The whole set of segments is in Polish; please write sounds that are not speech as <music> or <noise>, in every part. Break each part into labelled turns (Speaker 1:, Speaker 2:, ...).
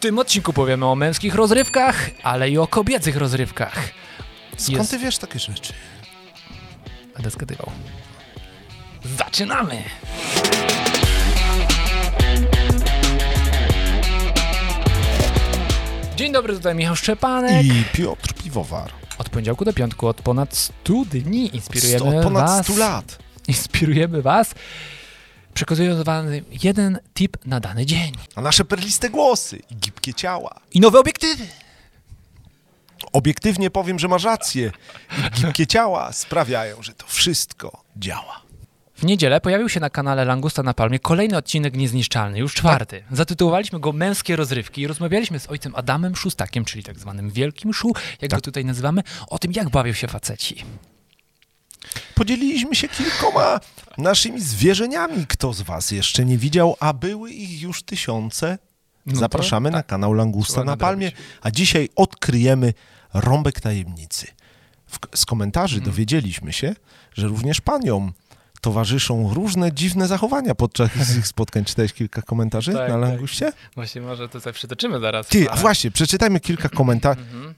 Speaker 1: tym odcinku powiemy o męskich rozrywkach, ale i o kobiecych rozrywkach.
Speaker 2: Skąd
Speaker 1: Jest.
Speaker 2: ty wiesz takie rzeczy?
Speaker 1: Będę zgadywał. Zaczynamy! Dzień dobry, tutaj Michał Szczepanek.
Speaker 2: I Piotr Piwowar.
Speaker 1: Od poniedziałku do piątku, od ponad 100 dni inspirujemy
Speaker 2: Sto- ponad
Speaker 1: was.
Speaker 2: 100 lat.
Speaker 1: <laughs> Inspirujemy was, przekazując wam jeden tip na dany dzień.
Speaker 2: A nasze perliste głosy i gibkie ciała.
Speaker 1: I nowe obiektywy!
Speaker 2: Obiektywnie powiem, że masz rację. I gibkie ciała sprawiają, że to wszystko działa.
Speaker 1: W niedzielę pojawił się na kanale Langusta na Palmie kolejny odcinek Niezniszczalny, już czwarty. Zatytułowaliśmy go Męskie rozrywki i rozmawialiśmy z ojcem Adamem Szustakiem, czyli tak zwanym Wielkim Szu, jak
Speaker 2: Tak.
Speaker 1: go tutaj nazywamy, o tym jak bawią się faceci.
Speaker 2: Podzieliliśmy się kilkoma naszymi zwierzeniami. Kto z was jeszcze nie widział, a były ich już tysiące?
Speaker 1: No to
Speaker 2: Zapraszamy na kanał Langusta
Speaker 1: Trzeba
Speaker 2: na Palmie,
Speaker 1: nadrobić.
Speaker 2: a dzisiaj odkryjemy rąbek tajemnicy. W, z komentarzy
Speaker 1: Mhm.
Speaker 2: dowiedzieliśmy się, że również paniom towarzyszą różne dziwne zachowania
Speaker 1: <laughs>
Speaker 2: podczas ich spotkań. Czytałeś kilka komentarzy
Speaker 1: Tak,
Speaker 2: na
Speaker 1: tak.
Speaker 2: Languście?
Speaker 1: Właśnie może to sobie przytoczymy zaraz.
Speaker 2: Ty, a właśnie, przeczytajmy kilka
Speaker 1: <clears throat>
Speaker 2: komentarzy.
Speaker 1: Mhm.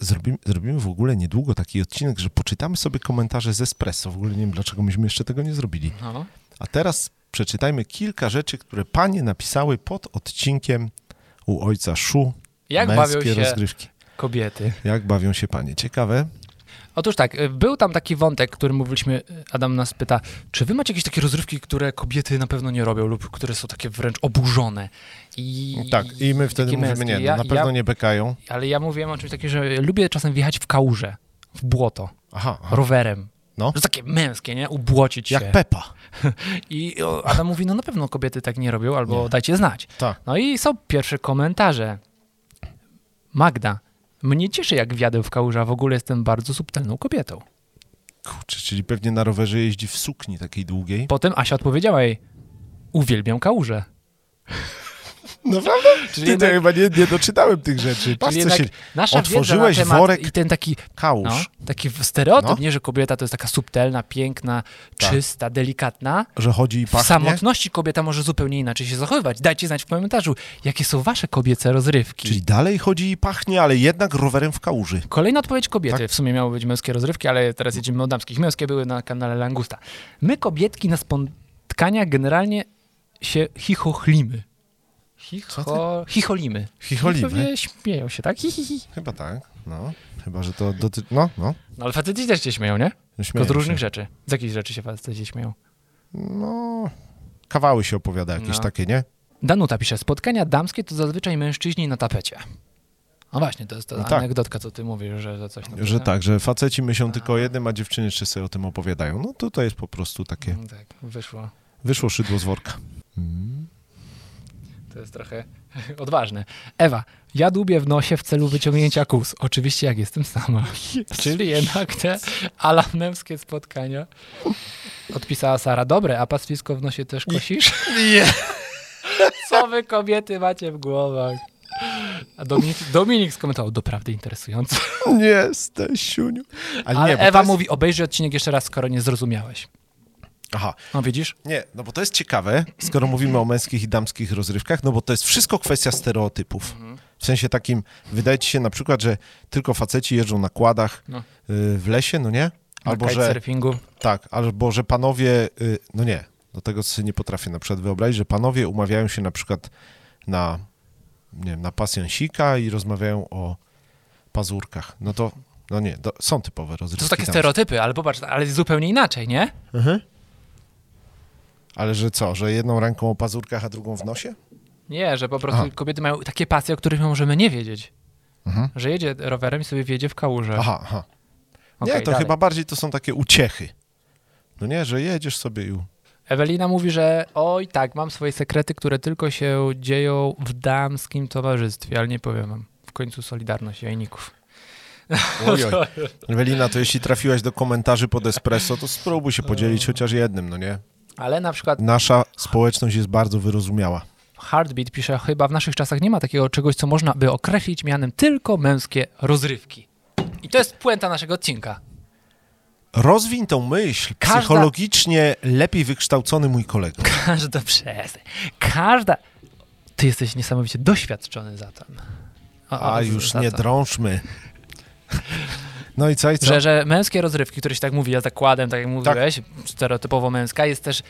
Speaker 2: Zrobimy, zrobimy w ogóle niedługo taki odcinek, że poczytamy sobie komentarze z Espresso. W ogóle nie wiem, dlaczego myśmy jeszcze tego nie zrobili.
Speaker 1: No.
Speaker 2: A teraz przeczytajmy kilka rzeczy, które panie napisały pod odcinkiem u ojca Szu.
Speaker 1: Jak
Speaker 2: męskie
Speaker 1: bawią się
Speaker 2: rozgrywki.
Speaker 1: kobiety?
Speaker 2: Jak bawią się panie? Ciekawe.
Speaker 1: Otóż tak, y, był tam taki wątek, który mówiliśmy, y, Adam nas pyta, czy wy macie jakieś takie rozrywki, które kobiety na pewno nie robią lub które są takie wręcz oburzone? I,
Speaker 2: Tak, i my wtedy
Speaker 1: takie
Speaker 2: mówimy,
Speaker 1: męskie.
Speaker 2: nie, no,
Speaker 1: Ja-
Speaker 2: na
Speaker 1: ja-
Speaker 2: pewno nie bekają.
Speaker 1: Ale ja mówiłem o czymś takim, że lubię czasem wjechać w kałużę, w błoto,
Speaker 2: Aha, aha.
Speaker 1: rowerem.
Speaker 2: No.
Speaker 1: To takie męskie, nie? Ubłocić się.
Speaker 2: jak Pepa.
Speaker 1: I o, Adam mówi, no na pewno kobiety tak nie robią, albo dajcie znać.
Speaker 2: Tak.
Speaker 1: No i są pierwsze komentarze. Magda, mnie cieszy jak wjadę w kałuża, w ogóle jestem bardzo subtelną kobietą.
Speaker 2: Kurczę, czyli pewnie na rowerze jeździ w sukni takiej długiej.
Speaker 1: Potem Asia odpowiedziała jej, uwielbiam kałużę.
Speaker 2: Naprawdę? Czyli
Speaker 1: jednak-
Speaker 2: No to chyba nie, nie doczytałem tych rzeczy. Patrz,
Speaker 1: Czyli
Speaker 2: co się...
Speaker 1: jednak nasza
Speaker 2: Otworzyłeś
Speaker 1: wiedza na temat
Speaker 2: worek
Speaker 1: i ten taki, no,
Speaker 2: kałuż,
Speaker 1: taki stereotyp,
Speaker 2: No.
Speaker 1: nie, że kobieta to jest taka subtelna, piękna,
Speaker 2: Tak.
Speaker 1: czysta, delikatna.
Speaker 2: że chodzi i
Speaker 1: W
Speaker 2: pachnie.
Speaker 1: samotności kobieta może zupełnie inaczej się zachowywać. Dajcie znać w komentarzu, jakie są wasze kobiece rozrywki.
Speaker 2: Czyli dalej chodzi i pachnie, ale jednak rowerem w kałuży.
Speaker 1: Kolejna odpowiedź kobiety. W sumie miały być męskie rozrywki, ale teraz jedziemy od damskich. Męskie były na kanale Langusta. My, kobietki, na spotkania generalnie się chichochlimy. Chicho... Chicholimy.
Speaker 2: Chicholimy.
Speaker 1: Pewnie śmieją się, tak? Hi, hi, hi.
Speaker 2: Chyba tak, no. Chyba, że to dotyczy... No, no.
Speaker 1: No ale faceci też się śmieją, nie? Tylko
Speaker 2: Śmieję
Speaker 1: z różnych
Speaker 2: się.
Speaker 1: rzeczy. Z jakichś rzeczy się faceci śmieją.
Speaker 2: No, kawały się opowiada jakieś
Speaker 1: No.
Speaker 2: takie, nie?
Speaker 1: Danuta pisze, spotkania damskie to zazwyczaj mężczyźni na tapecie. No właśnie, to jest ta
Speaker 2: No tak.
Speaker 1: anegdotka, co ty mówisz, że że coś tam...
Speaker 2: Że tak, że faceci myślą tylko o jednym, a dziewczyny jeszcze sobie o tym opowiadają. No to to jest po prostu takie,
Speaker 1: Mm, Tak, wyszło.
Speaker 2: wyszło szydło z worka.
Speaker 1: Mhm. To jest trochę <laughs> odważne. Ewa, ja dłubię w nosie w celu wyciągnięcia kus. Oczywiście jak jestem sama. Czyli jednak te ala męskie spotkania. Odpisała Sara, dobre, a pastwisko w nosie też kosisz? <laughs>
Speaker 2: Nie.
Speaker 1: Co wy kobiety macie w głowach? A Dominik, Dominik skomentował, doprawdy interesujące.
Speaker 2: Nie jesteś, siuniu.
Speaker 1: Ale,
Speaker 2: nie, bo to
Speaker 1: Ewa
Speaker 2: jest-
Speaker 1: mówi, obejrzyj odcinek jeszcze raz, skoro nie zrozumiałeś.
Speaker 2: Aha,
Speaker 1: No widzisz?
Speaker 2: nie, no bo to jest ciekawe, skoro mówimy o męskich i damskich rozrywkach, no bo to jest wszystko kwestia stereotypów. W sensie takim, wydaje ci się na przykład, że tylko faceci jeżdżą na kładach
Speaker 1: No.
Speaker 2: y, w lesie, no nie? Albo, że...
Speaker 1: surfingu.
Speaker 2: Tak, albo że panowie, y, no nie, do tego sobie nie potrafię na przykład wyobrazić, że panowie umawiają się na przykład na, nie wiem, na pasjansika i rozmawiają o pazurkach. No to, no nie, do, są
Speaker 1: To
Speaker 2: typowe rozrywki.
Speaker 1: są takie
Speaker 2: damskie.
Speaker 1: stereotypy, ale popatrz, ale zupełnie inaczej, nie?
Speaker 2: Ale że co, że jedną ręką o pazurkach, a drugą w nosie?
Speaker 1: Nie, że po prostu
Speaker 2: Aha.
Speaker 1: kobiety mają takie pasje, o których my możemy nie wiedzieć.
Speaker 2: Mhm.
Speaker 1: Że jedzie rowerem i sobie wjedzie w kałużę.
Speaker 2: Aha, aha. Nie,
Speaker 1: Okej,
Speaker 2: to
Speaker 1: dalej.
Speaker 2: chyba bardziej to są takie uciechy. No nie, że jedziesz sobie i... u-
Speaker 1: Ewelina mówi, że oj tak, mam swoje sekrety, które tylko się dzieją w damskim towarzystwie, ale nie powiem wam. W końcu Solidarność Jajników.
Speaker 2: Ojoj.
Speaker 1: <laughs>
Speaker 2: Ewelina, to jeśli trafiłaś do komentarzy pod espresso, to spróbuj się
Speaker 1: E.
Speaker 2: podzielić chociaż jednym, no nie?
Speaker 1: Ale na przykład
Speaker 2: Nasza społeczność jest bardzo wyrozumiała.
Speaker 1: Heartbeat pisze, chyba w naszych czasach nie ma takiego czegoś, co można by określić mianem tylko męskie rozrywki. I to jest puenta naszego odcinka.
Speaker 2: Rozwiń tą myśl.
Speaker 1: Każda- <laughs>
Speaker 2: Psychologicznie lepiej wykształcony mój kolega.
Speaker 1: Każda przez. Każda. Ty jesteś niesamowicie doświadczony zatem. O, o,
Speaker 2: A
Speaker 1: z-
Speaker 2: już
Speaker 1: za
Speaker 2: nie
Speaker 1: to.
Speaker 2: drążmy. No i co, i co?
Speaker 1: Że, że męskie rozrywki, które się tak mówi, ja zakładam, tak jak mówiłeś, stereotypowo męska, jest też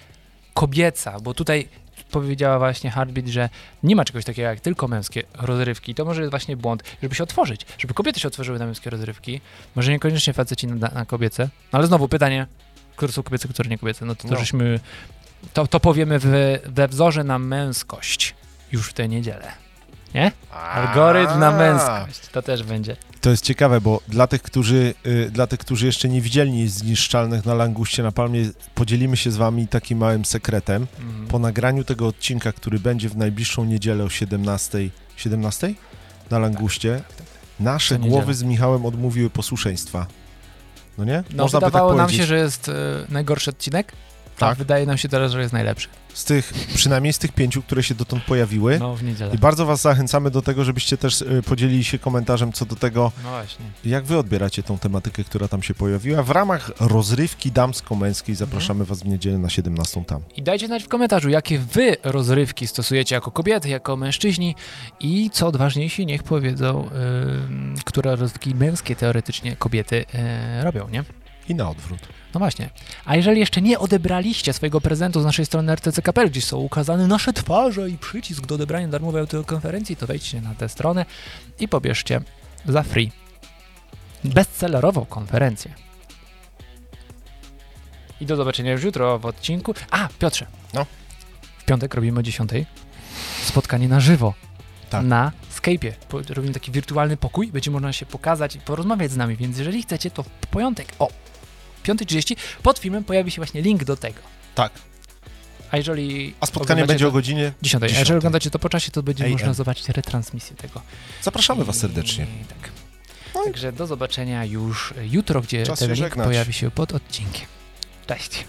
Speaker 1: kobieca, bo tutaj powiedziała właśnie Heartbeat, że nie ma czegoś takiego jak tylko męskie rozrywki. To może jest właśnie błąd, żeby się otworzyć, żeby kobiety się otworzyły na męskie rozrywki. Może niekoniecznie faceci na, na kobiece, no ale znowu pytanie, które są kobiece, które nie kobiece. No to, to
Speaker 2: No.
Speaker 1: żeśmy, to, to powiemy w, we wzorze na męskość już w tę niedzielę. Algorytm na
Speaker 2: A,
Speaker 1: męskość, to też będzie.
Speaker 2: To jest ciekawe, bo dla tych, którzy, y, dla tych, którzy jeszcze nie widzieli nic zniszczalnych na languście na palmie, podzielimy się z wami takim małym sekretem.
Speaker 1: Mhm.
Speaker 2: Po nagraniu tego odcinka, który będzie w najbliższą niedzielę o 17.00, 17? na languście, nasze
Speaker 1: To niedziela.
Speaker 2: głowy z Michałem odmówiły posłuszeństwa. No nie?
Speaker 1: No,
Speaker 2: Można by tak
Speaker 1: wydawało nam
Speaker 2: powiedzieć.
Speaker 1: się, że jest e, najgorszy odcinek, a
Speaker 2: Tak.
Speaker 1: wydaje nam się teraz, że jest najlepszy.
Speaker 2: Z tych, przynajmniej z tych pięciu, które się dotąd pojawiły.
Speaker 1: No, w niedzielę.
Speaker 2: I bardzo was zachęcamy do tego, żebyście też y, podzielili się komentarzem co do tego,
Speaker 1: No właśnie.
Speaker 2: Jak wy odbieracie tą tematykę, która tam się pojawiła? W ramach rozrywki damsko-męskiej zapraszamy was w niedzielę na 17 tam.
Speaker 1: I dajcie znać w komentarzu, jakie wy rozrywki stosujecie jako kobiety, jako mężczyźni i co odważniejsi niech powiedzą, ym, które rozrywki męskie teoretycznie kobiety e, robią, nie?
Speaker 2: I na odwrót.
Speaker 1: No właśnie. A jeżeli jeszcze nie odebraliście swojego prezentu z naszej strony rtc.pl, gdzie są ukazane nasze twarze i przycisk do odebrania darmowej autokonferencji, to wejdźcie na tę stronę i pobierzcie za free bestsellerową konferencję. I do zobaczenia już jutro w odcinku. A, Piotrze.
Speaker 2: No.
Speaker 1: W piątek robimy o 10 spotkanie na żywo.
Speaker 2: Tak.
Speaker 1: Na Skype'ie. Po- Robimy taki wirtualny pokój, będzie można się pokazać i porozmawiać z nami, więc jeżeli chcecie, to w pojątek o 5.30 pod filmem pojawi się właśnie link do tego.
Speaker 2: Tak.
Speaker 1: A jeżeli.
Speaker 2: A spotkanie
Speaker 1: oglądacie
Speaker 2: będzie o
Speaker 1: to,
Speaker 2: godzinie.
Speaker 1: 10. A
Speaker 2: 10.
Speaker 1: jeżeli oglądacie to po czasie, to będzie
Speaker 2: AM.
Speaker 1: można zobaczyć retransmisję tego.
Speaker 2: Zapraszamy was serdecznie.
Speaker 1: I tak.
Speaker 2: No i-
Speaker 1: Także do zobaczenia już jutro, gdzie
Speaker 2: Czas się
Speaker 1: ten link
Speaker 2: żegnać.
Speaker 1: pojawi się pod odcinkiem. Cześć.